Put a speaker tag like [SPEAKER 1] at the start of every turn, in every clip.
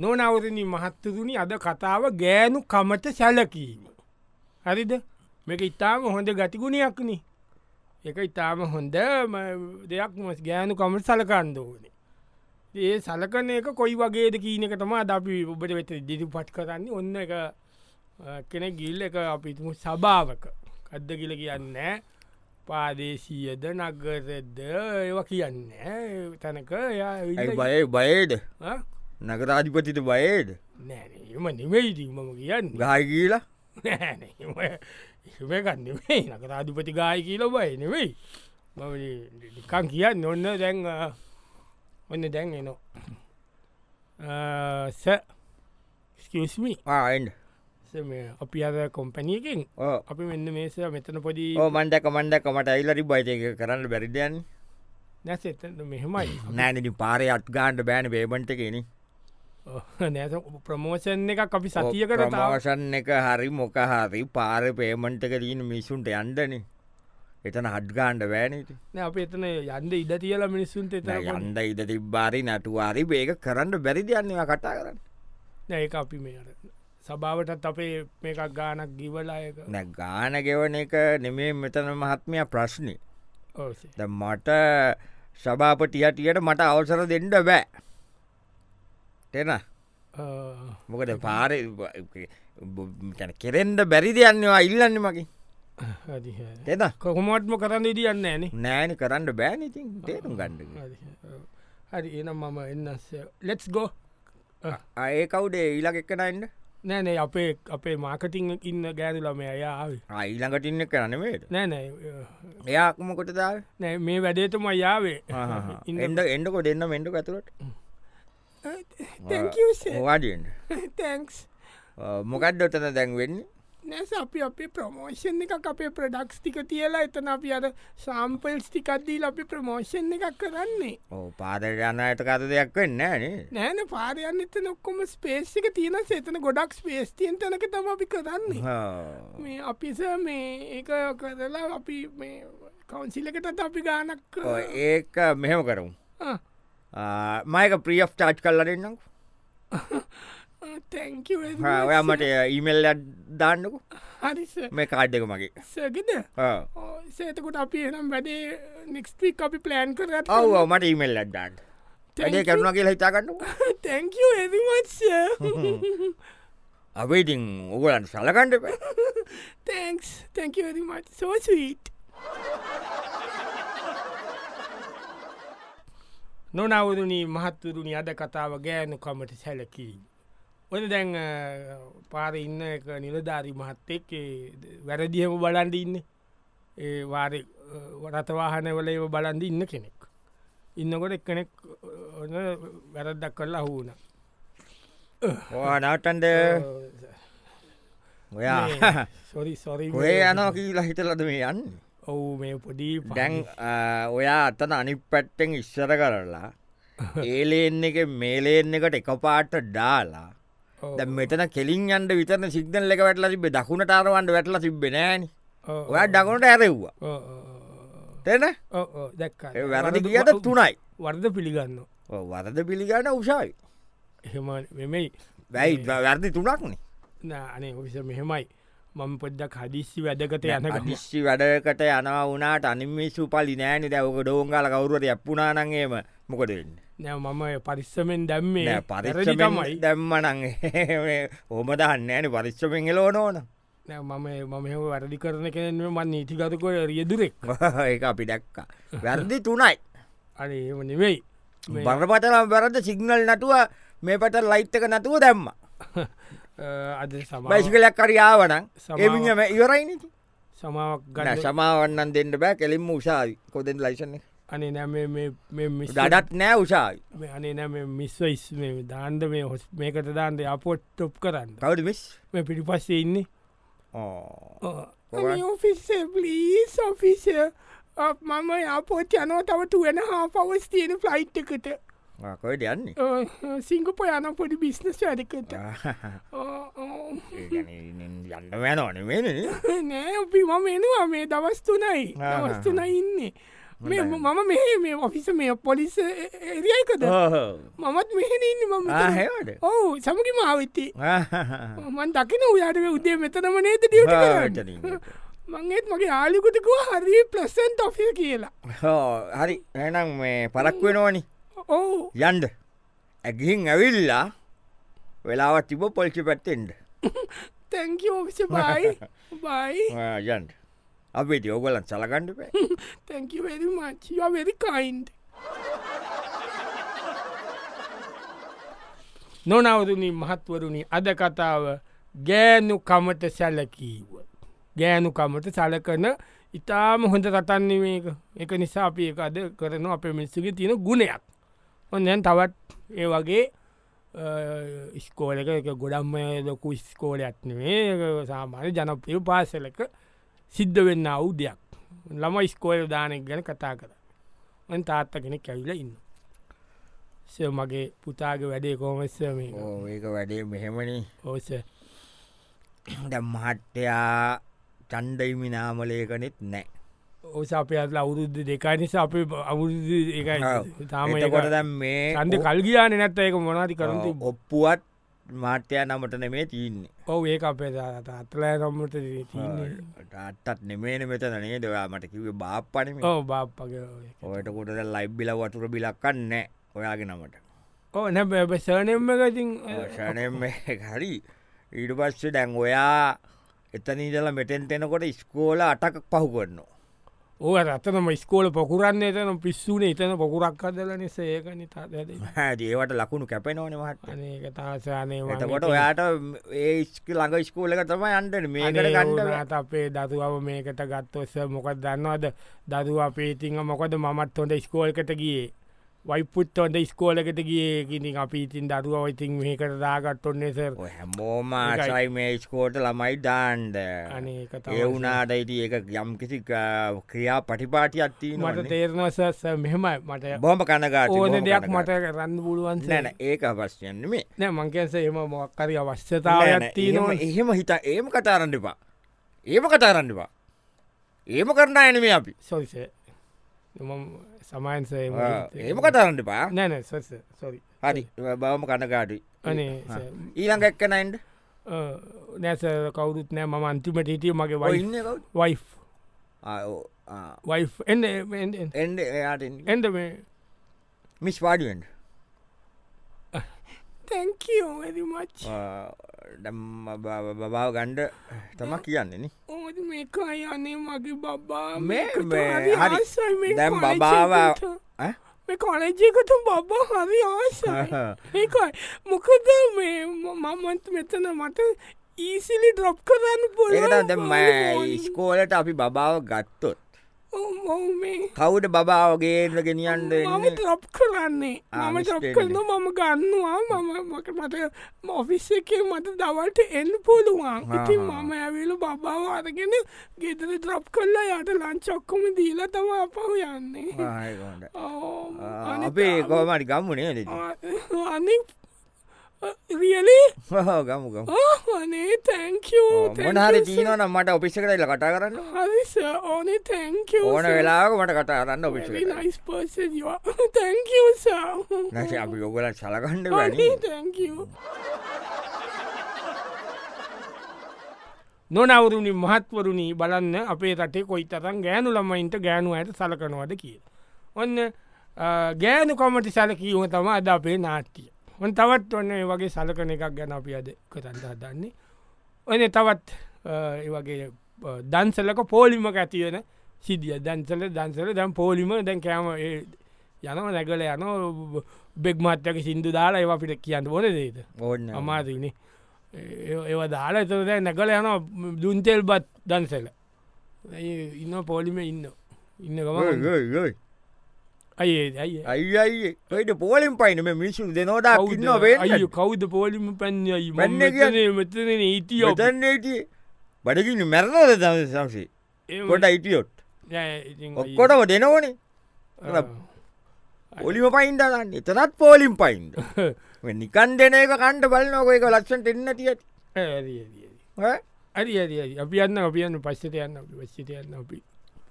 [SPEAKER 1] නොනවරණ මහත්තතුනි අද කතාව ගෑනු කමට සැලකීම. හරිද මේක ඉතාම හොඳ ගතිගුණයක්න එක ඉතාම හොඳ ම- දෙයක් මස් ගෑනු කමට සලකන්ද ඕනේ. ඒ සලකන එක කොයි වගේද කීනක තමා අපි ඔබට වෙත දිරි පට් කරන්න ඔන්න එක අ, කෙනෙක් ගිල්ල එක අපිතුම සභාවක අද්ද කියල කියන්න පාදේශීයද නගරද ඒවා කියන්න ඒ තැනක එයා ඇවිල්ලා-
[SPEAKER 2] ඇයි බය බයේද
[SPEAKER 1] ආ?
[SPEAKER 2] නගරාධිපතිට බයේද
[SPEAKER 1] නෑ නෑ, එහෙම නෙවෙයිදී මම කියන්න
[SPEAKER 2] ගාය කියලා
[SPEAKER 1] ඒකන්නේ නකරාධිපති ගාය කියල බයි නෙවෙයි මකන් කියන්න නොන්න දැන් අ, ඔන්න දැන් එනවා ස්කස්මි
[SPEAKER 2] ආන්න
[SPEAKER 1] අපි අද කොම්පැනියකින් අපි මෙන්න මේස මෙතන පොඩි
[SPEAKER 2] මන්ඩක මණ්ඩක මට ඇල්ලරි බයිතයක කරන්න බැරිදයන්
[SPEAKER 1] නැස එතන මෙහෙමයි
[SPEAKER 2] නෑනනි පාරය අත්ගාන්ට බෑන බේබන්ට කෙනෙ
[SPEAKER 1] නැස ප්‍රමෝෂන් එක අපි සතිය කර
[SPEAKER 2] අවසන් එක හරි මොකහරි පාර පේමන්ටක දීන මිසුන්ට යන්ඩන එතන හඩ්ගාන්ඩ බෑනට
[SPEAKER 1] අප එතන යන්ද ඉඩ තියලා මිනිස්සුන්ට එත
[SPEAKER 2] යන්ඩ ඉද තිබ්බාරි නටවාරි බේක කරන්න බැරිදයන්නවා කටා කරන්න
[SPEAKER 1] ඒ අපි මේ අර සභාවටත් අපේ මේකක් ගානක් ගිවලායක
[SPEAKER 2] නැ ගාන ගෙවන එක නෙමේ මෙතන මහත්මය ප්‍රශ්නය
[SPEAKER 1] ඕසේ
[SPEAKER 2] ද මට සභාපටියටියට මට අවසර දෙන්න බෑ තෙන මොකද පාර කෙරෙන්ට බැරි දෙයන්නවා ඉල්ලන්න මගේ
[SPEAKER 1] හරි
[SPEAKER 2] තෙන
[SPEAKER 1] කොහොමටම කරන්න ඉදිියන්න න
[SPEAKER 2] නෑන කරන්න බෑනඉතින් තේරුම් ගණ්ඩ
[SPEAKER 1] හරි එනම් මම එන්නස් ලෙටස් ගෝ
[SPEAKER 2] ඒ කවුඩේ ඊලක් එක්කනන්න
[SPEAKER 1] නෑනේ අපේ අපේ මාකටිං ඉන්න ගෑනු ළම අයාාව
[SPEAKER 2] ඊළඟටින්න කරනවට
[SPEAKER 1] නෑනෑ
[SPEAKER 2] එයාකුමකොට දාව
[SPEAKER 1] නෑ මේ වැඩේතුම අයාවේ ඉන්න
[SPEAKER 2] එඩ එඩකො දෙන්න මෙඩු ඇතුරට වාඩෙන්
[SPEAKER 1] තැන්ක්ස්
[SPEAKER 2] මොකක්ද ඔතන දැන්වෙන්නේ
[SPEAKER 1] නැස අපි අපේ ප්‍රමෝෂන් එකක් අපේ ප්‍රඩක්ස් ටික තියලා එතන අපි අර සාම්පල්ස් ටිකක්දී අපි ප්‍රමෝෂන් එකක් කරන්නේ
[SPEAKER 2] ඕ පාදර යන්නයට කත දෙයක් වෙන්න නේ
[SPEAKER 1] නෑන පාරයන්න එත නොක්කොම ස්පේස්ික තියෙන සේතන ගොඩක් ස්පේස්තියෙන් තැනක තම අපි කරන්නේ මේ අපිස මේ ඒක කරලා අපි මේ කවන්සිලකටත් අපි ගානක්
[SPEAKER 2] ඔව්, ඒක මෙහෙම කරමු
[SPEAKER 1] ආ.
[SPEAKER 2] ආ, මයක ප්‍රිය් ටාච් කල්ලරන්නම්
[SPEAKER 1] තැංක
[SPEAKER 2] ඔයාමට ඊමෙල් දාන්නකු
[SPEAKER 1] හරිස
[SPEAKER 2] මේ කාඩ්ඩක මගේ
[SPEAKER 1] සගෙද
[SPEAKER 2] ආ.
[SPEAKER 1] සේතකොට අපි එනම් වැඩේ නෙක්ස්ට්‍රික් අපි ප්ලෑන් කරත්
[SPEAKER 2] ඔව් ඔව්, මට ඊමෙල් අඩ්ඩාන්න ඇඩේ කරුණ කියලා හිතාගන්නු
[SPEAKER 1] තැංක එවිමච්ස
[SPEAKER 2] අවේටිං ඔගලන් සලකණ්ඩ ප
[SPEAKER 1] තැන්ක්ස් තැංක එවිමච් සෝස්වීට් නොනවරුණී මහත්තුරුණි අද කතාව ගෑනු කමට සැලකී. ඔන දැන් අ, පාර ඉන්න එක නිලධාරි මහත්තෙක් ඒ වැරදිහම බලන්ඩ ඉන්න ඒ වාර රතවාහන වල ඒව බලන්ඩ ඉන්න කෙනෙක්. ඉන්නකොට එක් කෙනෙක් ඔන්න වැරද්දක් කරලා හුණ.
[SPEAKER 2] නවටන්ඩ ඔයා
[SPEAKER 1] සොරි සොරි
[SPEAKER 2] ඔය යනෝ කියලා හිතලද මේ යන්න
[SPEAKER 1] ඔවු මේ පොඩි
[SPEAKER 2] ඩැන් ඔයා අතන අනි පැට්ටෙන් ඉස්සර කරලා ඒලේන්න එක මේලේන්න එකට එක පාට ඩාලා දැන් මෙතන කෙලින් අන්ට විතරන සිගනල් එක වැටලා තිබේ දකුණට අරවන්ට වැටලා තිබෙනෑන
[SPEAKER 1] Oh.
[SPEAKER 2] ඔයා ඩගුණට ඇරෙව්වා තෙන
[SPEAKER 1] දැක්
[SPEAKER 2] වැරදි කියට තුනයි
[SPEAKER 1] වර්ද පිළිගන්න
[SPEAKER 2] ඔව්, වරද පිළිගන්න උසායි
[SPEAKER 1] එහෙම මෙමයි
[SPEAKER 2] වැයි වැරදි තුනක්නේ
[SPEAKER 1] අනේ ඔවිස මෙහෙමයි මම පොද්දක් හදිස්සි වැදකට යන
[SPEAKER 2] අදිිශ්ි වැඩකට යනවා වනාට අනිමිස්සු පලි නෑනි දැවක ඩෝංගල කවරුවට යප්පුනානන්ගේම මොකද වෙන්න
[SPEAKER 1] නෑ මම පරිස්සමෙන් දැම්මේ පරිරි
[SPEAKER 2] පරිරමයි
[SPEAKER 1] තමයි
[SPEAKER 2] දැම්මනං හොම දන්න ෑන පරිශ්්‍රමෙන් එලෝන ඕන
[SPEAKER 1] නෑ මම මම එහම වැරදි කරන කෙනෙ මන් නීතිගතකොය රියදුරෙක්
[SPEAKER 2] ඒ අපි දැක්කා වැරදි තුනයි
[SPEAKER 1] අනේ එම නෙවෙයි මේ-
[SPEAKER 2] බරපතලම් වැරද සිංනල් නටුව මේ පට ලයිට්ක නතුව දැම්ම
[SPEAKER 1] අ, අද සම
[SPEAKER 2] බයිසිකලක් කරියාවනං
[SPEAKER 1] සමාව-
[SPEAKER 2] එමිම ඉවරයිනිති
[SPEAKER 1] සමාවක්
[SPEAKER 2] ගන
[SPEAKER 1] ගන්න
[SPEAKER 2] සමාවන්නන් දෙන්න බෑ කෙලින්ම උසාවි කොදෙන් ලයිසන
[SPEAKER 1] අනේ නෑ
[SPEAKER 2] ගඩත් නෑ උසාවි
[SPEAKER 1] මේ අනේ නෑ මිස්ව ඉස් දාන්ද මේ හොස් මේකට දාන්ද අපොට් ටොප් කරන්න
[SPEAKER 2] කවඩිමිස්
[SPEAKER 1] මේ පිටිපස්සේ ඉන්නේ
[SPEAKER 2] කොහොමද? අනේ
[SPEAKER 1] ඔෆිස්සේ පලීස් ඔෆිස Uh, මම අපෝච් යනෝ තවට වෙන හා පවස් තියෙන ෆ්ලයිට් එකට
[SPEAKER 2] කොයිට යන්නේ
[SPEAKER 1] සිංගප යන පොඩි බිස්නස් වැඩකට Uh,
[SPEAKER 2] ඒ කියන්නේ ඉන්න යන්න වැනෝන වෙන
[SPEAKER 1] නෑ අපි මම එනවා මේ දවස්තුනයි
[SPEAKER 2] ආ.
[SPEAKER 1] දවස්තුන ඉන්නේ මේ මම මේ මේ ඔෆිස මේ පොලිස එරියයිකද
[SPEAKER 2] Uh.
[SPEAKER 1] මමත් මෙහෙනන්න මම
[SPEAKER 2] ආහෙවට
[SPEAKER 1] ඔවු සමගි මාවිත්ති මන් දකින උයාට උදේ මෙතනම නේද
[SPEAKER 2] Uh,
[SPEAKER 1] ඩියට මංගේත් මගේ යාලිකුටකුව හරි ප්ලස්සන් ඔෆිල් කියලා
[SPEAKER 2] හරි එනම් මේ පරක් වෙනෝනි
[SPEAKER 1] ඔවු
[SPEAKER 2] යන්ඩ ඇගිහින් ඇවිල්ලා වෙලාවත් තිබ පොල්චි පැත්තෙන්ට
[SPEAKER 1] තැංක ඔෆිස බයි බයි
[SPEAKER 2] යන්ඩ අපේ යෝගලන් සලකණ්ඩ පේ
[SPEAKER 1] තැංකවරි මචිය වෙරි කයින්ඩ නොනවරුණි මහත්වරුණි අද කතාව ගෑනු කමට සැලකීව. ගෑනු කමට සලකන ඉතාම හොඳ කතන්නේ මේක එක නිසා අපි එක අද කරන අප මිස්සක තියෙන ගුණයක්. ඔොන්දැන් තවත් ඒ වගේ ඉස්කෝලක එක ගොඩම්ම ලොකු ස්කෝලයක්නේ සාමාන්‍ය ජනප්‍රිය පාසලක සිද්ධ වෙන්න අවුදයක්. ළම ස්කෝල දානෙක් ගැන කතා කර. න් තාත්ත කෙනෙක් කැවිල ඉන්න. ස මගේ පුතාගේ වැඩේ කෝමස්ස මේ
[SPEAKER 2] ඒක වැඩේ මෙහෙමනි
[SPEAKER 1] ඕස
[SPEAKER 2] ද මහට්ටයා චන්ඩයිමිනාමලේකනෙත් නෑ
[SPEAKER 1] ඕස අපේ අත්ල අවුරුද්ධ දෙකයි නිසා අපේ අවුරුදු එකයි තාම
[SPEAKER 2] තාමකොට දැම් මේ
[SPEAKER 1] සන්ද කල්ගයාන නැත්ත ඒක මොනාති කරතු
[SPEAKER 2] ඔව්, ඔප්පුුවත් මාට්‍යයා නමට නෙමේ තියන්නේ
[SPEAKER 1] ඔව ඒ අපේ අත්ලෑ රම්මට තියන්නේ
[SPEAKER 2] ටත් නෙමේන මෙතන නේ දවා මට කිව බාප්පනම
[SPEAKER 1] ඕ බාප්පගේ
[SPEAKER 2] ඔයට කොටද ලයිබ්බිල වතුර බිලක්කන්න ඔයාගේ නමට
[SPEAKER 1] ඕ නැ සනම්මකතින්
[SPEAKER 2] ෂණම හරි ඊට පස්සේ දැන් ඔයා එතනීදල මෙටෙන් එෙනකොට ස්කෝල අටක් පහු කරනවා
[SPEAKER 1] ඕ රත්තනම ස්කෝල පොකුරන්න එතන පිස්සුනේ එතන පොකුරක් අදල නිස ඒකනි තාද
[SPEAKER 2] ඒවට ලකුණු කැපෙනවන මහට
[SPEAKER 1] අනක තාසානය
[SPEAKER 2] එතකොට ඔයාට ඒ ස්ක ළඟ ස්කෝලක තම අන්ට මේකට ගන්න
[SPEAKER 1] ගන්නට අපේ දතුාව මේකට ගත්තොස්ස මොකක් දන්නවද දරු අපේ ඉතිංහ මොකද මත් හොඳ ස්කෝල්කට ගියේ වයිපුත් හොඳ ස්කෝලකට ගියකිනි අපි ඉතින් දරුව ඉතින් මේකට දාගත් ඔන්නේ සර්
[SPEAKER 2] හැමෝම ආසයි මේ ස්කෝට ළමයි දාන්ඩ
[SPEAKER 1] අනේකත
[SPEAKER 2] ඒවුනාට ඉති ඒ යම් කිසි ක- ක්‍රියා පටිපාටි අත්තිී
[SPEAKER 1] මට තේරනසස් මෙහෙමයි මට
[SPEAKER 2] බොම කනගාට
[SPEAKER 1] ඕන දෙයක් මට කරන්න පුළුවන්
[SPEAKER 2] නැන ඒක පස්යන්නේ මේ
[SPEAKER 1] නෑ මංකන්ස එම මොක්කරි
[SPEAKER 2] නෑ,
[SPEAKER 1] අවශ්‍යතාවයක්
[SPEAKER 2] නෑ,
[SPEAKER 1] තියනවා
[SPEAKER 2] එහෙම- එහෙම හිතා ඒම කතාරන්නපා ඒම කතාරන්නපා ඒම කරන්න ඇනම අපි
[SPEAKER 1] සොරිස සමයින්ස
[SPEAKER 2] ඒම කතාරන්නපා
[SPEAKER 1] නැන සොස සොරි
[SPEAKER 2] හරි බවම කනකාටි
[SPEAKER 1] අනේ සර්.
[SPEAKER 2] ඊළඟ එක්කනයින්ට
[SPEAKER 1] නැස කවුරුත් නෑ ම අන්තිමට හිටිය මගේ වයි
[SPEAKER 2] ඉන්න
[SPEAKER 1] වයි වයි එන්න
[SPEAKER 2] එඩ එයාට
[SPEAKER 1] එද මේ
[SPEAKER 2] මිස් පාඩුවෙන්ට
[SPEAKER 1] තැංකෝමච්
[SPEAKER 2] ඩම් බබාව ගණ්ඩ තම කියන්නේන
[SPEAKER 1] ඕද මේක අයනේ මගේ බබා
[SPEAKER 2] මේ-
[SPEAKER 1] මේකට
[SPEAKER 2] මේ
[SPEAKER 1] හරි
[SPEAKER 2] හරි.
[SPEAKER 1] ආසයි මේ
[SPEAKER 2] දැන්
[SPEAKER 1] කොලෙජ්
[SPEAKER 2] බබාවා-
[SPEAKER 1] එකට.
[SPEAKER 2] ඈ?
[SPEAKER 1] මේ කොලජයකට බබා හරි ආසයි ඒකයි මොකද මේ ම- මමත් මෙතන මට ඊසිලි ඩ්‍රොප් කරන්න
[SPEAKER 2] ඒකට දැම
[SPEAKER 1] පොල
[SPEAKER 2] ස්කෝලට අපි බබාව ගත්තොත්
[SPEAKER 1] මේ
[SPEAKER 2] කවුඩ බබාවගේල ගෙනියන්ඩ
[SPEAKER 1] මම ටොප් කරන්නේ
[SPEAKER 2] ආ,
[SPEAKER 1] මම ටොප්
[SPEAKER 2] mistake
[SPEAKER 1] කරන මම ගන්නවා මම මක මට මොෆිස් එකේ මට දවල්ට එන්න පුළුවන් ඉතින්
[SPEAKER 2] ආහා.
[SPEAKER 1] මම ඇවිලු බබාව අරගෙන ගෙදර ට්‍රොප් කරලා යට ලංචොක්කොම දීලා තම අපහු යන්නේ ඔව්. අනිත්
[SPEAKER 2] අපේ කොමට ගම්මුණේ නෙ
[SPEAKER 1] ආ, අනික් රියලේ
[SPEAKER 2] ගමුගම
[SPEAKER 1] අනේ තැංකෝ
[SPEAKER 2] මොනහරි තිීනවන මට ඔපිස්සකටයිල කටා කරන්න
[SPEAKER 1] හරිස ඕනේ තැංකෝ
[SPEAKER 2] ඕන වෙලාක මට කටා කරන්න ඔපිස
[SPEAKER 1] නයිස් පර්ස තැංකෝසා
[SPEAKER 2] නැස අපි යොගල සලකණ්ඩ වැනි
[SPEAKER 1] අනේ තැංකෝ නොනවරුණි මහත්වරුණී බලන්න අපේ රටේ කොයි තරම් ගෑනු ළමයින්ට ගෑනු ඇයට සලකනවද කිය. ඔන්න ගෑනු කොමටි සැලකීම තම අද අපේ නාට්‍යය. ඔන් තවත් ඔන්න ඒ වගේ සලකන එකක් ගැන අපි අද කරන්න හදන්නේ. ඔන තවත් අ, ඒ වගේ අ, දන්සලක පෝලිමක ඇතිවෙන සිදිය දන්සල දන්සල දැම් පෝලිම දැන් කෑම ඒ යනම නැගල යන බෙක්මත්යක සිින්දු දාලා ඒවා අපිට කියන්න ඕන දේද.
[SPEAKER 2] ඕන්න
[SPEAKER 1] අමාතිනේ ඒව දාලා එතද නැකල යන දුන්තෙල් බත් දන්සල ඉන්න පොලිම ඉන්න ඉන්න ගම අයේ ඇයි
[SPEAKER 2] අයියි ඔයිට පෝලිම් පයින මේ මිනිසු දෙනෝදා ඉන්න වේ
[SPEAKER 1] අය කෞද පොලිම පැන්යයි
[SPEAKER 2] පැන්න කියන්නේ.
[SPEAKER 1] මෙතන ඊටිය
[SPEAKER 2] යොදන්නේටිය බඩකින්න මැරණෝද තම සංසේ කොට ඉටියොත් ඔක්කොටම දෙනවනේ පොලිම පයින්දන්න එතනත් පෝලිම් පයින්ද නිකන් දෙන එක කණ්ඩ බලන්නකො එක ලක්ෂන්ට එන්න තියත්
[SPEAKER 1] ඇරි ඇරි ඇරි අපි යන්න අපියන්න පස්සට යන්න පස්සට යන්න අපි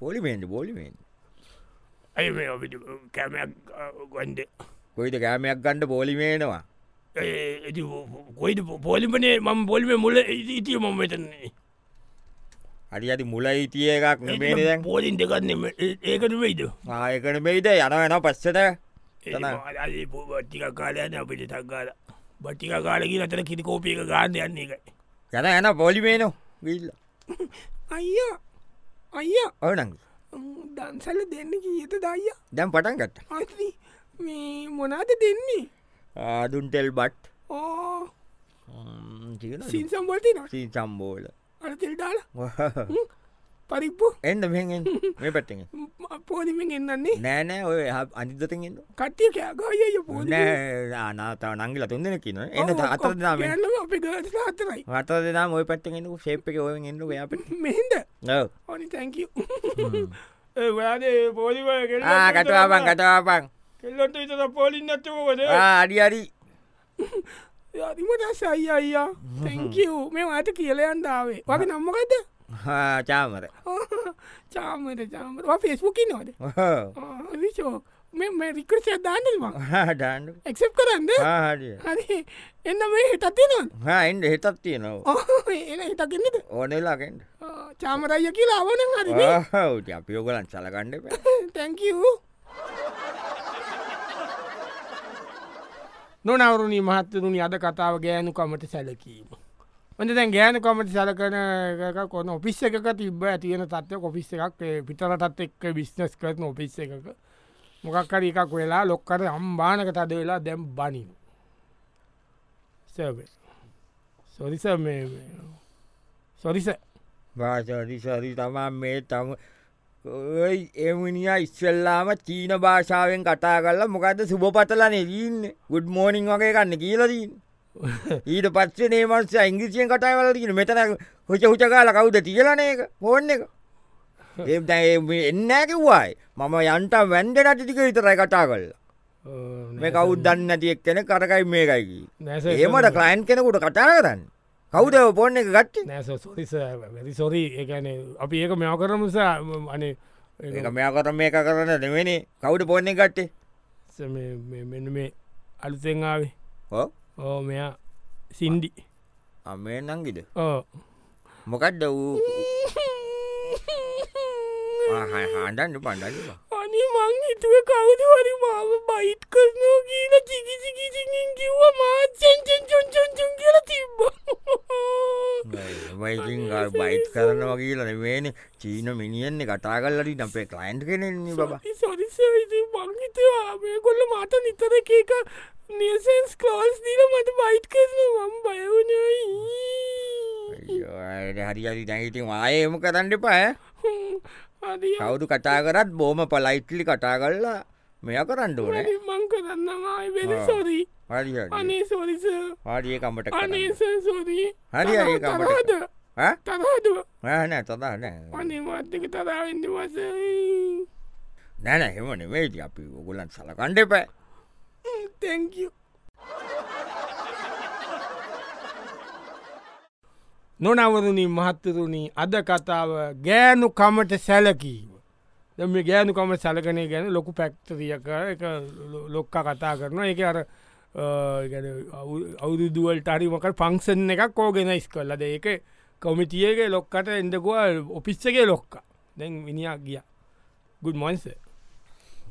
[SPEAKER 2] පොලිමෙන්ට පොලිමෙන්
[SPEAKER 1] ඇයි මේ ඔබිට කැමයක් ගොන්ඩ
[SPEAKER 2] කොයිද කෑමයක් ගණ්ඩ පොලිමේනවා
[SPEAKER 1] Eh, කොයිට පොලිපනේ මම පොලිම මුල ඉතිය මම මෙතන්නේ
[SPEAKER 2] අඩි අති මුලයි තිය එකක් නෙමේ දැන්
[SPEAKER 1] පෝලින් දෙකන්න ඒකට වෙයිද
[SPEAKER 2] ආයකන මෙයිද යන වෙන පස්සට තන-
[SPEAKER 1] ටික කාලයන අපිට තක්කාල බට්ටික කාල කිය අතර කිරිකෝපියක ගාන්න යන්නේ එකයි
[SPEAKER 2] යන යන පොලිමේනෝ විල්ල
[SPEAKER 1] අයියා අයියා
[SPEAKER 2] ඔවනඟ
[SPEAKER 1] දන්සල දෙන්න කියත දයියා
[SPEAKER 2] දැම් පටන් ගත්ත
[SPEAKER 1] අති මේ මොනාද දෙන්නේ
[SPEAKER 2] ආදුන්ටෙල් බට්
[SPEAKER 1] ඕ සින්සම්වලතින
[SPEAKER 2] සී සම්බෝල
[SPEAKER 1] අරතෙල් ඩාල පරිප්පු
[SPEAKER 2] එන්න මෙහෙන් මේ පැත්තෙන්
[SPEAKER 1] පෝලිමෙන් එන්නන්නේ
[SPEAKER 2] නෑනෑ ඔය අනිදතෙන් එන්න
[SPEAKER 1] කට්ටිය කෑගය පෝල
[SPEAKER 2] නාතාව නංගිල තුන්දෙන කියන එන්න අතර දාම
[SPEAKER 1] අප ගත අතරයි
[SPEAKER 2] අත දෙනා ඔය පැත්තෙන් ශේප් එක ඔය එන්න යාප
[SPEAKER 1] මෙහින්ද ඕනි තැංක ඔයාද පෝලිව
[SPEAKER 2] කටවාපන් කටවාපන්
[SPEAKER 1] කෙල්ලොට ඉත පෝලින් නැත්තකද
[SPEAKER 2] අඩි අරි
[SPEAKER 1] යදිමට සයි අයියා තැංකූ මේ අත කියලයන්දාවේ වගේ නම්මකත
[SPEAKER 2] චාමර
[SPEAKER 1] චාමට චාමර ෆෙස්බුකි නොද විශෝ මෙ රිකර සැදාන්නල්වා
[SPEAKER 2] ඩාඩ
[SPEAKER 1] එක්සප් කරන්න
[SPEAKER 2] හඩිය
[SPEAKER 1] හරි එන්න මේ හිටත්තිනොන්
[SPEAKER 2] එන්ඩ හෙතත් තියනවා
[SPEAKER 1] එන හිතකින්නද
[SPEAKER 2] ඕනෙලාකෙන්ට
[SPEAKER 1] චාමරයිය කියලා අවන හරි
[SPEAKER 2] හට අපියෝගලන් සලකණ්ඩ
[SPEAKER 1] තැංකූ නොනවරුණී මහත්තරුණි අද කතාව ගෑනුකමට සැලකීම. ඔොඳ දැන් ගෑනකමට සැලකන එකක කොන ඔපිස් එකක තිබ ඇතියෙන තත්ව කොපිස් එකක් ඒ පිටරටත් එක්ක විිස්්නස් කරන ඔපිස් එකක මොකක්කර එකක් වෙලා ලොක්කර අම්බානක තද වෙලා දැම් බනින් සර්වේ සොරිස මේ සොරිස
[SPEAKER 2] භාෂරිසරි තමා මේ තම ඔයි එමනිිය ඉස්සල්ලාම චීන භාෂාවෙන් කතා කරලා මොකද සුභපතලන දීන්න ගුඩ් මෝනිින් වගේ ගන්න කියලදීන් ඊට පත්සේ නේමන්ස ඉංග්‍රසියෙන් කටාවලතින මෙතන හොච හුචකාල කවුද තියලන එක හෝන්න එක ඒ එන්න කිව්වායි මම යන්ටම් වැන්ඩ නටික විතරයි කතා කල්ලා මේ කවුද්දන්න නැති එක්කෙන කරකයි මේකයිකි
[SPEAKER 1] නැස
[SPEAKER 2] ඒමට කලයින් කෙනකුට කටා කරන්න කවුද පොන්න එක ගත්ත
[SPEAKER 1] නෑ සොරිස වැරි සොරී ඒන අපි ඒක මෙව කරම නිසා ම- අනේ ඒක
[SPEAKER 2] ඒක මෙයා කර මේක කරන දෙවෙනි කවුට පොන්න කට්ටේ
[SPEAKER 1] ස- මේ- මේ- මෙන්න මේ අලුතෙන්ආාවේ
[SPEAKER 2] හෝ
[SPEAKER 1] ඕ මෙයා සින්ඩි
[SPEAKER 2] අමේ නංගිද
[SPEAKER 1] ඕ
[SPEAKER 2] මොකක්ද වූ හාඩන්න පණ්ඩන්න
[SPEAKER 1] අනි මං හිතුව කවුදවරි මාව බයිට් කරනෝ කියීල චිකිසිකිසිින් කිව්ව මාචෙන්චෙන්චොන්චොන්චුන් කියල තිබ්බ
[SPEAKER 2] වයිසිං බයිට් කරනවා කියලන වේන චීන මිනිියන්නේ කතා කල්ලට අපේ කලයින්් කෙනෙන්නේ බබ
[SPEAKER 1] සොරිස මංහිතවාේ කොල්ල මට නිතර එක එක නියසන්ස් කලෝස් දීල මට බයිට් කරන මම් බයවනයි
[SPEAKER 2] හරි හරි දැහිති ආයම කරන්න පාය
[SPEAKER 1] අද
[SPEAKER 2] කවුදු කතා කරත් බෝම පලයිට්ලි කතා කල්ලා මෙය කරන්න ඕන
[SPEAKER 1] මං කරන්නමයි වෙන
[SPEAKER 2] ආ.
[SPEAKER 1] සොරී
[SPEAKER 2] හරි හරි.
[SPEAKER 1] අනේ සොරිස
[SPEAKER 2] හාඩියකමට
[SPEAKER 1] අනේස සොරී
[SPEAKER 2] හරි හරි
[SPEAKER 1] තරහද තරහද
[SPEAKER 2] නෑ තදා නෑ
[SPEAKER 1] අනේ මත්තක තරාවෙන්ද වස
[SPEAKER 2] නැන හෙමන වේද අපි ඔගුලන් සලකණ්ඩ එපෑ
[SPEAKER 1] Mm, තැක නොනවරණී මහත්තරුණී අද කතාව ගෑනු කමට සැලකීම දෙම ගෑනුකම සැලකනය ගැන ලොකු පැක්තරියක එක ලො- ලොක්ක කතා කරන එක අර අ, ඒ කියන්නේ අවු- අවුරුදුවලට අරිමක පංක්ෂන් එකක් ඕගෙනයිස් කරලද ඒක කොමිටියගේ ලොක්කට එඩකුව ඔපිස්සගේ ලොක්ක දැන් විනිියක් ගිය ගුඩ් මොන්සේ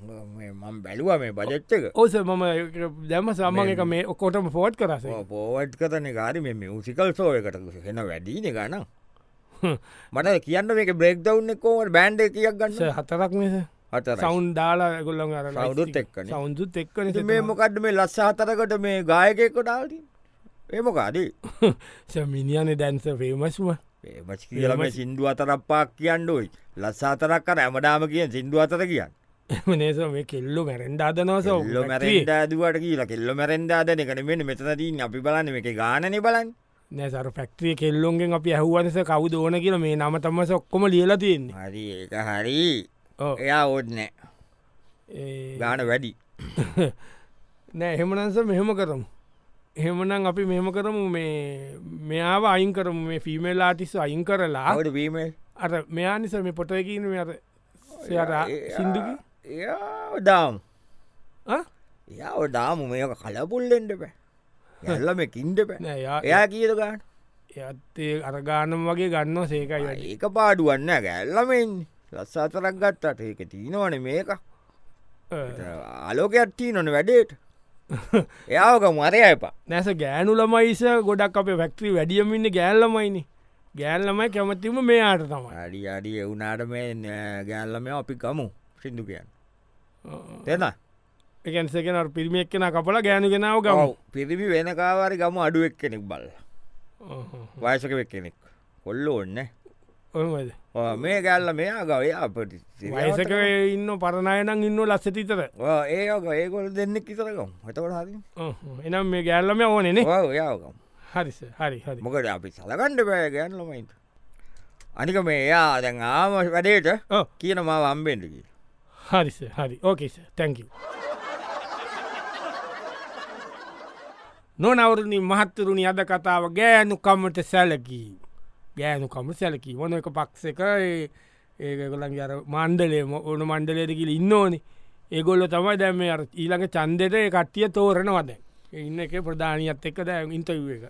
[SPEAKER 2] මම බැලුව මේ බජච්චක
[SPEAKER 1] ඕස මම දැම සාමාන් එක මේ ඔකොටම ෆෝට් කරස
[SPEAKER 2] පෝවට් කරන ගාරි මෙ සිකල් සෝයකට හෙන වැඩීන ගන මට කියන්න මේ බෙක් දවන්න කෝවට බෑන්ඩ එකයක් ගන්න
[SPEAKER 1] හතරක් මෙස
[SPEAKER 2] හතර
[SPEAKER 1] සවුන් දාලා ගොල්ලන් අර
[SPEAKER 2] සවුන්ඩුත් එක්කනේ.
[SPEAKER 1] සෞුදුත් එක්ක
[SPEAKER 2] මේ මොකක්ද මේ ලස්ස හතරකට මේ ගායකෙක්කොටාට ඒමකාදී
[SPEAKER 1] මිනිියන දැන්ස පේමස්ම
[SPEAKER 2] ඒමච කියලම සිින්දු අතරප්පාක් කියන්නඩුවයි ලස්ස අතරක් කර ඇමඩාම කියෙන් සිින්දු අතර කියන්න
[SPEAKER 1] එමනේස මේ කෙල්ලු මැරෙන්ඩ අදනවස
[SPEAKER 2] ල්ල මැරෙන්ඩාදුවට කියලා කෙල්ල මැරෙන්ඩාදන කන මෙට මෙතනදී අපි බලන්න මේ එක ගානය බලන්
[SPEAKER 1] නැසර ෆෙක්ට්‍රිය කෙල්ලොන්ගෙන් අපි ඇහුවනස කවු දෝන කියල මේ නම තම සොක්කොම ලියලා තියෙන්නේ
[SPEAKER 2] හරි ඒක හරි එයා ඕඩ්නෑ ගාන වැඩි
[SPEAKER 1] නෑ එහෙමනන්ස මෙහෙම කරමු එහෙමනම් අපි මෙහෙම කරමු මේ මෙයාාව අයින් කරමු මේ ෆිමල් ආටිස් අයින් කරලා
[SPEAKER 2] අවට වීමල්
[SPEAKER 1] අර මෙයා නිසා මේ පොටයකන අර සයරා සිින්දුකි
[SPEAKER 2] දාම් යා දාම මේක කලපුල්ලෙන්ටප ඇල්ලම කින්ටප එයා කියද ගන්න
[SPEAKER 1] ඇත්තේ අරගානම් වගේ ගන්න සේකයි වැඩි
[SPEAKER 2] ඒක පාඩුවන්න ගැල්ලමෙන් ලස්ස අතරක් ගත්තට ඒක තිීනවන මේක අලෝකයක්ත්තිී නොන වැඩේට එයාෝක මරය එපා
[SPEAKER 1] නැස ගෑනු ළමයිස ගොඩක් අපේ පැක්ට්‍රී වැඩියමින්න ගෑල්ලමයිනි ගෑල්ලමයි කැමතිම මෙයාට තමයි
[SPEAKER 2] අඩි අඩි එවුනාට මේ නෑ ගැල්ලම අපි කමු සිින්දු කියන්න තෙන
[SPEAKER 1] එකන්සකෙන පිරිමියක් කෙන කපල ගෑනු කෙනාව ගව
[SPEAKER 2] ගව පිරිමි වෙනකාවාරි ගම අඩුවක් කෙනෙක් බල්ල වයසකවෙක් කෙනෙක් කොල්ල ඔන්න
[SPEAKER 1] ඔමද
[SPEAKER 2] ඔය මේ ගැල්ල මෙයා ගවය අපට
[SPEAKER 1] වයසක ඉන්න පරණයනම් ඉන්න ලස්සතීතර
[SPEAKER 2] ඒක ඒකොල් දෙන්නෙක් කිතරකම් හතවට හරි
[SPEAKER 1] එනම් මේ ගෑල්ලම ඕනනේ
[SPEAKER 2] යාකම්
[SPEAKER 1] හරිස හරි හරි
[SPEAKER 2] මොකට අපි සලකණ්ඩ පෑ ගැන්ලමයිට අනික මේ එයා දැන් ආම වැඩේට
[SPEAKER 1] ඔව්.
[SPEAKER 2] කියන මාව අම්බෙන්ටකි
[SPEAKER 1] හරිස හරි ඕකේස තැංකව නොනවරණ මහත්තරුණි අද කතාව ගෑනුකමට සැලකී ගෑනුකම සැලකී ඕන එක පක්ෂක ඒ- ඒගොලන් අර මණ්ඩලේ ම- ඕන මණ්ඩලේදකිල ඉන්න ඕනි ඒගොල්ල තමයි දැම ඊළඟ චන්දෙට ඒ කට්ටිය තෝරනවද ඉන්න එක ප්‍රධානයත් එක්ක දැ ඉන්ටව එක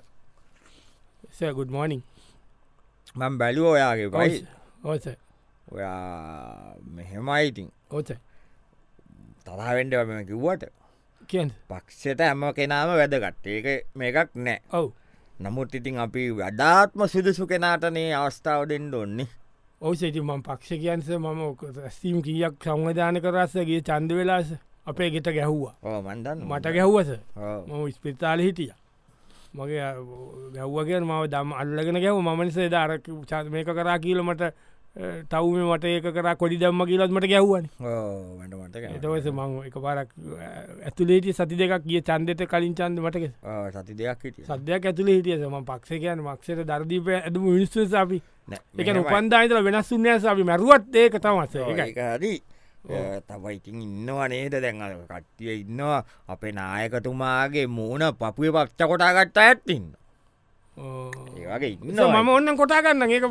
[SPEAKER 1] සගුඩ් මෝනිින්
[SPEAKER 2] මං බැලුව ඔයාගේ පයි
[SPEAKER 1] ඕස
[SPEAKER 2] ඔයා මෙහෙමයිඉතින්
[SPEAKER 1] ඕස
[SPEAKER 2] තරාවෙන්ඩ මෙම කිව්වට
[SPEAKER 1] කියන්න
[SPEAKER 2] පක්ෂයට හැම කෙනාම වැදගත් ඒක මේකක් නෑ
[SPEAKER 1] ඔව්
[SPEAKER 2] නමුත් ඉතින් අපි වැඩාත්ම සුදුසු කෙනාටනේ අවස්ථාවඩෙන් ඩොන්නේ
[SPEAKER 1] ඔවසේති මම පක්ෂ කියන්ස මම ස්තීම් කියක් සංවිධාන කරස්සගේ චන්ද වෙලාස අපේ ගෙට ගැහ්වා
[SPEAKER 2] මන්දන්
[SPEAKER 1] මට ගැහ්වස මම ස්පිතාල හිටිය මගේ ගැව්වගේ මව දම් අල්ලගෙන ගැව මනිසේ ධරක මේක කරා කියීලමට තවම මට ඒක කර කොඩි දම්ම කියලත් මට ගැහ්වන
[SPEAKER 2] මට මට
[SPEAKER 1] එතවස මං එක පාරක් ඇතුලේට සති දෙකක් කිය චන්දෙත කලින් චන්ද මටක
[SPEAKER 2] සති දෙයක් හිටිය
[SPEAKER 1] සද්‍යයක් ඇතුල හිටියසම පක්ෂකයන් මක්ෂයට දර්දීප ඇදම විනිස්සාපි එක
[SPEAKER 2] මෙහෙමයි.
[SPEAKER 1] උපන්දාහිතල වෙනස්සුන්නේ සි මැරුවත් ඒක තමස
[SPEAKER 2] ඔව්,
[SPEAKER 1] එකයි
[SPEAKER 2] ඒක හරි තවයි ඉතින් ඉන්නවා නේද දැන් අර කට්ටිය ඉන්නවා අපේ නායකතුමාගේ මූුණ පපුය පක්ෂ කොටා ගත්තා ඇත්තින්න ඒවගේ ඉන්න
[SPEAKER 1] මම ඔන්න කොටා ගන්න ඒක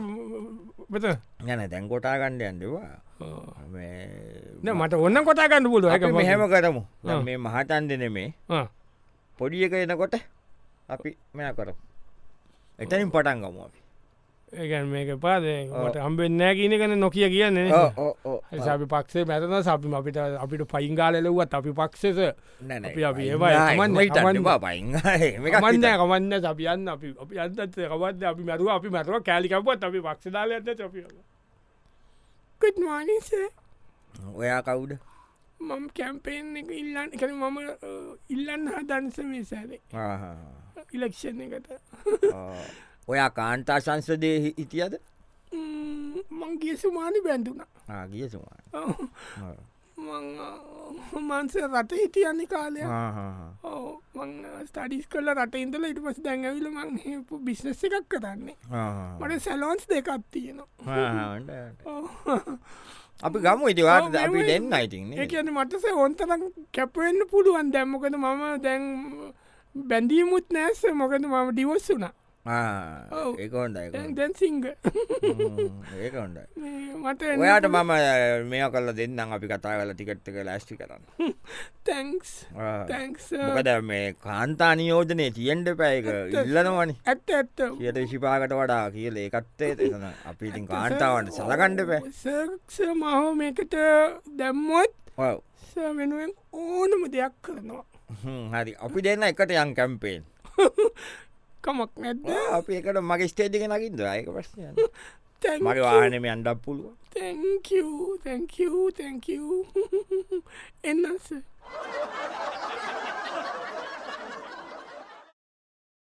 [SPEAKER 1] බත
[SPEAKER 2] යන දැන් කොටා ගණ්ඩ ඇන්ඩවා
[SPEAKER 1] මට ඔන්න කොටා ගන්න පුල
[SPEAKER 2] මෙහෙම කරමු දැන්
[SPEAKER 1] ආ.
[SPEAKER 2] මේ මහතන් දෙන මේ පොඩි එක එනකොට අපි මෙ කර එතනින් පටන් ගමුව
[SPEAKER 1] ඒගැන් මේක පාදට හම්බෙන්නෑ කියන කන නොකිය කියන්නේ සි පක්ෂේ මැරන සපි අපිට අපිට පයිංගාලලෙව්වත් අපි පක්ෂෙස අපි- අපි ඒවා කමන්නේ, කමන්නේ. මන්න කමන්න සපියන්න අපි අපි අන්තත් කවද අපි මැරුව අපි මැරුව කෑලිකපුත් අපි පක්ෂදාල ඇත චපිය කට්මානිසේ
[SPEAKER 2] ඔයා කවුඩ
[SPEAKER 1] මම කැම්පේෙන් එක ඉල්ලන්න කන මම ඉල්ලන්න හදන්ස මේසාද ඉලක්ෂණ එකට
[SPEAKER 2] ඔයා කාන්තා සංසදය හිටියද
[SPEAKER 1] මංගේ සුමාන බැඳුන
[SPEAKER 2] ආගිය සුමාන
[SPEAKER 1] මන්ස රට හිටියන්නේ කාලය
[SPEAKER 2] ආහා.
[SPEAKER 1] ස්ටඩිස් කල රට ඉඳල ඉට පස දැඟවිල මං හපු බිශ්නස එකක් කරන්නේ
[SPEAKER 2] ආහා.
[SPEAKER 1] මට සැලොන්ස් දෙකක් තියෙනවා
[SPEAKER 2] ආහා, හොඳයි. අපි ගම ඉතිවාට අපි දෙන්න අයිතින්
[SPEAKER 1] ඒකන මටස ඔොන්තරම් කැපවෙන්න පුළුවන් දැම්මකද මම දැන් බැඳීමුත් නෑස මොකද මම ඩිවස් වුනා ඔව්.
[SPEAKER 2] ඒකොන්ඩයි
[SPEAKER 1] දැන්- දැන් සිංග
[SPEAKER 2] ඒකොන්ඩයි
[SPEAKER 1] මට එන්න
[SPEAKER 2] ඔයාට මම මේ කල දෙන්නම් අපි කතා කල ටිකට්ක ලස්ටි කරන්න
[SPEAKER 1] තැන්ක්ස්
[SPEAKER 2] ආ.
[SPEAKER 1] තැන්ක්ස්
[SPEAKER 2] මොකද මේ කාන්තා නියෝජනය තියෙන්ට පැයක ඉල්ලනවනි
[SPEAKER 1] ඇත්ත ඇත්ත
[SPEAKER 2] කියට ශිපාකට වඩා කියල ඒකත්තේ තෙන අපි ඉතින් කාන්තාවට සලකණ්ඩ පැ
[SPEAKER 1] සක්ෂ මහෝ මේකට දැම්මොත් ස වෙනුවෙන් ඕනම දෙයක් කරනවා
[SPEAKER 2] හරි අපි දෙන්න එකට යම් කැම්පේෙන්
[SPEAKER 1] කමක් නැද්ද
[SPEAKER 2] අපි එකට මගේ ස්ටේටික නකින් දයක පස්න
[SPEAKER 1] තැන්
[SPEAKER 2] මගේ වාහනම අන්ඩක් පුළුව
[SPEAKER 1] තැංකතැංකතැංක එන්නස